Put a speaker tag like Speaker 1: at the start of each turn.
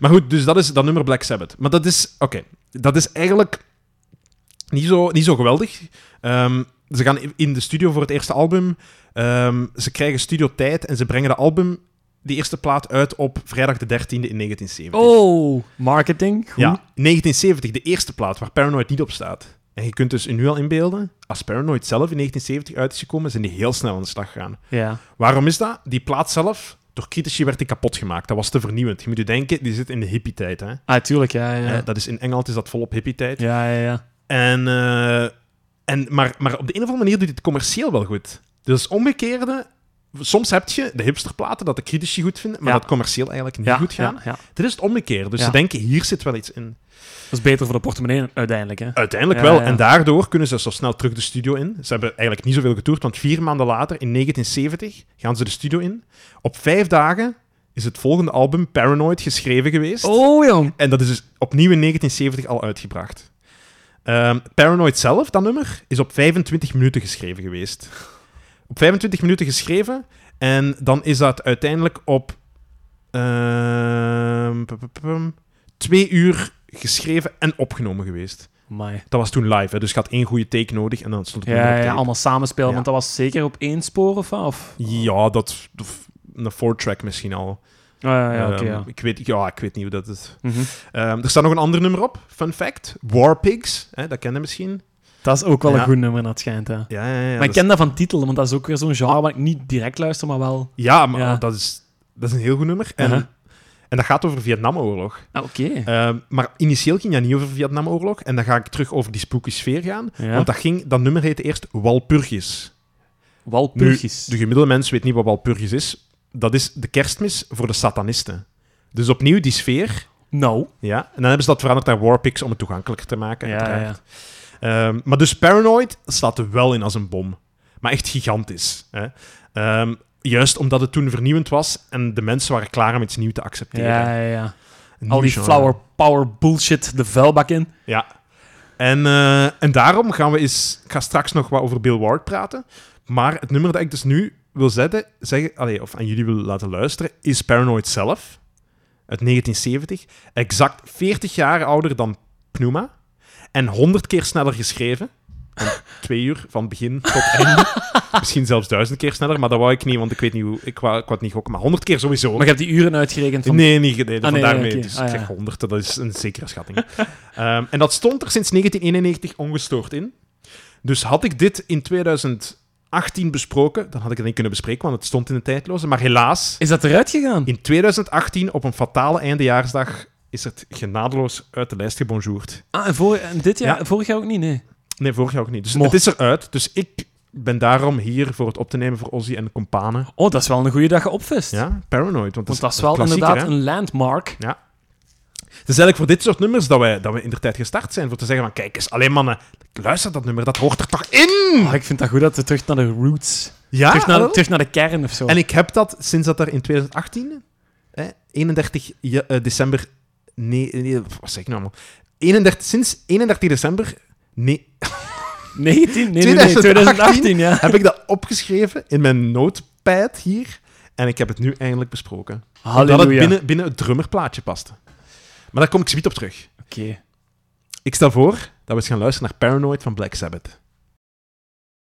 Speaker 1: Maar goed, dus dat is dat nummer Black Sabbath. Maar dat is, oké, dat is eigenlijk niet zo, niet zo geweldig. Ehm, ze gaan in de studio voor het eerste album. Ehm, ze krijgen studiotijd en ze brengen de album, die eerste plaat, uit op vrijdag de 13e in 1970.
Speaker 2: Oh, marketing. Goed.
Speaker 1: Ja, 1970, de eerste plaat waar Paranoid niet op staat. En je kunt dus nu al inbeelden, als Paranoid zelf in 1970 uit is gekomen, zijn die heel snel aan de slag gegaan.
Speaker 2: Ja.
Speaker 1: Waarom is dat? Die plaat zelf, door critici werd die kapot gemaakt. Dat was te vernieuwend. Je moet je denken, die zit in de hippie-tijd. Hè?
Speaker 2: Ah, tuurlijk, ja. Ja,
Speaker 1: Eh, dat is, in Engeland is dat volop hippie-tijd.
Speaker 2: ja, ja. ja.
Speaker 1: En, eh, en, maar, maar op de een of andere manier doet het commercieel wel goed. Dus het omgekeerde, soms heb je de hipsterplaten dat de critici goed vinden, maar
Speaker 2: Ja.
Speaker 1: dat commercieel eigenlijk niet
Speaker 2: ja,
Speaker 1: goed gaan.
Speaker 2: ja, ja.
Speaker 1: Dit is het omgekeerde. Dus
Speaker 2: Ja.
Speaker 1: ze denken, hier zit wel iets in.
Speaker 2: Dat is beter voor de portemonnee uiteindelijk, hè?
Speaker 1: Uiteindelijk
Speaker 2: Ja,
Speaker 1: wel.
Speaker 2: ja.
Speaker 1: En daardoor kunnen ze zo snel terug de studio in. Ze hebben eigenlijk niet zoveel getoerd, want vier maanden later, in 1970, gaan ze de studio in. Op vijf dagen is het volgende album, Paranoid, geschreven geweest.
Speaker 2: Oh, jong.
Speaker 1: En dat is dus opnieuw in 1970 al uitgebracht. Ehm, Paranoid zelf, dat nummer, is op 25 minuten geschreven geweest. Op 25 minuten geschreven. En dan is dat uiteindelijk op ehm, pu- pu- pu- pu- twee uur geschreven en opgenomen geweest.
Speaker 2: Amai.
Speaker 1: Dat was toen live, hè, dus je had één goede take nodig en dan stond het
Speaker 2: Ja,
Speaker 1: nummer op
Speaker 2: ja,
Speaker 1: tape.
Speaker 2: allemaal samenspelen,
Speaker 1: Ja.
Speaker 2: want dat was zeker op één spoor of wat? Of...
Speaker 1: Ja, dat... of Een four-track misschien al.
Speaker 2: Ah, ja, ja, oké,
Speaker 1: Ehm,
Speaker 2: ja.
Speaker 1: ik weet, ja, ik weet niet hoe dat is.
Speaker 2: Mhm.
Speaker 1: Ehm, er staat nog een ander nummer op, fun fact. War Pigs, hè, dat ken je misschien.
Speaker 2: Dat is ook wel
Speaker 1: Ja.
Speaker 2: een goed nummer, dat schijnt, hè?
Speaker 1: Ja, ja, ja.
Speaker 2: maar ik
Speaker 1: dat
Speaker 2: ken dat van titel, want dat is ook weer zo'n genre waar ik niet direct luister, maar wel...
Speaker 1: is- ja, maar
Speaker 2: Ja. Uh-huh.
Speaker 1: Dat, is, dat is een heel goed nummer. En,
Speaker 2: Aha.
Speaker 1: en dat gaat over de Vietnamoorlog.
Speaker 2: Ah, oké.
Speaker 1: Ehm, maar initieel ging dat niet over de Vietnamoorlog. En dan ga ik terug over die spooky sfeer gaan.
Speaker 2: Ja.
Speaker 1: Want dat, ging, dat nummer heette eerst Walpurgis.
Speaker 2: Walpurgis.
Speaker 1: De gemiddelde mens weet niet wat Walpurgis is. Dat is de kerstmis voor de satanisten. Dus opnieuw die sfeer.
Speaker 2: Nou.
Speaker 1: Ja. En dan hebben ze dat veranderd naar Warpix om het toegankelijker te maken.
Speaker 2: Ja,
Speaker 1: uiteraard.
Speaker 2: ja.
Speaker 1: Ehm, maar dus Paranoid staat er wel in als een bom. Maar echt gigantisch. Hè? Ehm, juist omdat het toen vernieuwend was en de mensen waren klaar om iets nieuws te accepteren.
Speaker 2: Ja, ja, ja.
Speaker 1: Een
Speaker 2: Al
Speaker 1: nieuw
Speaker 2: die
Speaker 1: genre.
Speaker 2: flower power bullshit de vuilbak in.
Speaker 1: Ja. En, eh, en daarom gaan we eens, ik ga straks nog wat over Bill Ward praten. Maar het nummer dat ik dus nu wil zetten, zeggen, allee, of aan jullie wil laten luisteren, is Paranoid zelf. Uit 1970. Exact 40 jaar ouder dan Pneuma. En 100 keer sneller geschreven. Van twee uur van begin tot einde. Misschien zelfs duizend keer sneller, maar dat wou ik niet, want ik weet niet hoe. Ik wou, ik wou het niet gokken, maar 100 keer sowieso.
Speaker 2: Maar je hebt die uren uitgerekend van...
Speaker 1: Nee, niet nee,
Speaker 2: Ah, nee,
Speaker 1: vandaar
Speaker 2: nee,
Speaker 1: mee.
Speaker 2: oké.
Speaker 1: Dus
Speaker 2: Ah,
Speaker 1: ik
Speaker 2: ja.
Speaker 1: zeg 100, dat is een zekere schatting. Ehm, en dat stond er sinds 1991 ongestoord in. Dus had ik dit in 2018 besproken, dan had ik het niet kunnen bespreken, want het stond in de tijdloze. Maar helaas,
Speaker 2: Is dat eruit gegaan?
Speaker 1: in 2018, op een fatale eindejaarsdag, is het genadeloos uit de lijst gebonjourd.
Speaker 2: Ah, en, vor- en dit jaar,
Speaker 1: Ja.
Speaker 2: vorig jaar ook niet, nee.
Speaker 1: Nee, vorig jaar ook niet. Dus
Speaker 2: Mo.
Speaker 1: het is eruit. Dus ik ben daarom hier voor het op te nemen voor Ozzy en Companen.
Speaker 2: Oh, dat is wel een goede dag opvist.
Speaker 1: Ja, Paranoid. Want dat
Speaker 2: Want
Speaker 1: is,
Speaker 2: dat is wel
Speaker 1: klassieker,
Speaker 2: inderdaad
Speaker 1: hè?
Speaker 2: een landmark.
Speaker 1: Het is eigenlijk voor dit soort nummers dat wij, dat we in de tijd gestart zijn. Voor te zeggen van, kijk eens, alleen mannen, luister dat nummer, dat hoort er toch in?
Speaker 2: Oh, ik vind dat goed dat we terug naar de roots.
Speaker 1: Ja,
Speaker 2: terug, naar de,
Speaker 1: wel.
Speaker 2: terug naar de kern of zo.
Speaker 1: Ah, En ik heb dat sinds dat er in 2018, hè, 31 ja- eh, december, nee, nee, wat zeg ik nou allemaal? 31, sinds 31 december, nee,
Speaker 2: 19, nee, nee, nee,
Speaker 1: 2018.
Speaker 2: 2018, ja.
Speaker 1: heb ik dat opgeschreven in mijn notepad hier. En ik heb het nu eindelijk besproken. Dat het
Speaker 2: Halleluja.
Speaker 1: binnen, binnen het drummerplaatje paste. Maar daar kom ik zoiets op terug.
Speaker 2: Oké.
Speaker 1: Ik stel voor dat we eens gaan luisteren naar Paranoid van Black Sabbath.